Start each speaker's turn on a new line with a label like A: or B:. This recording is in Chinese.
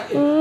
A: 呀。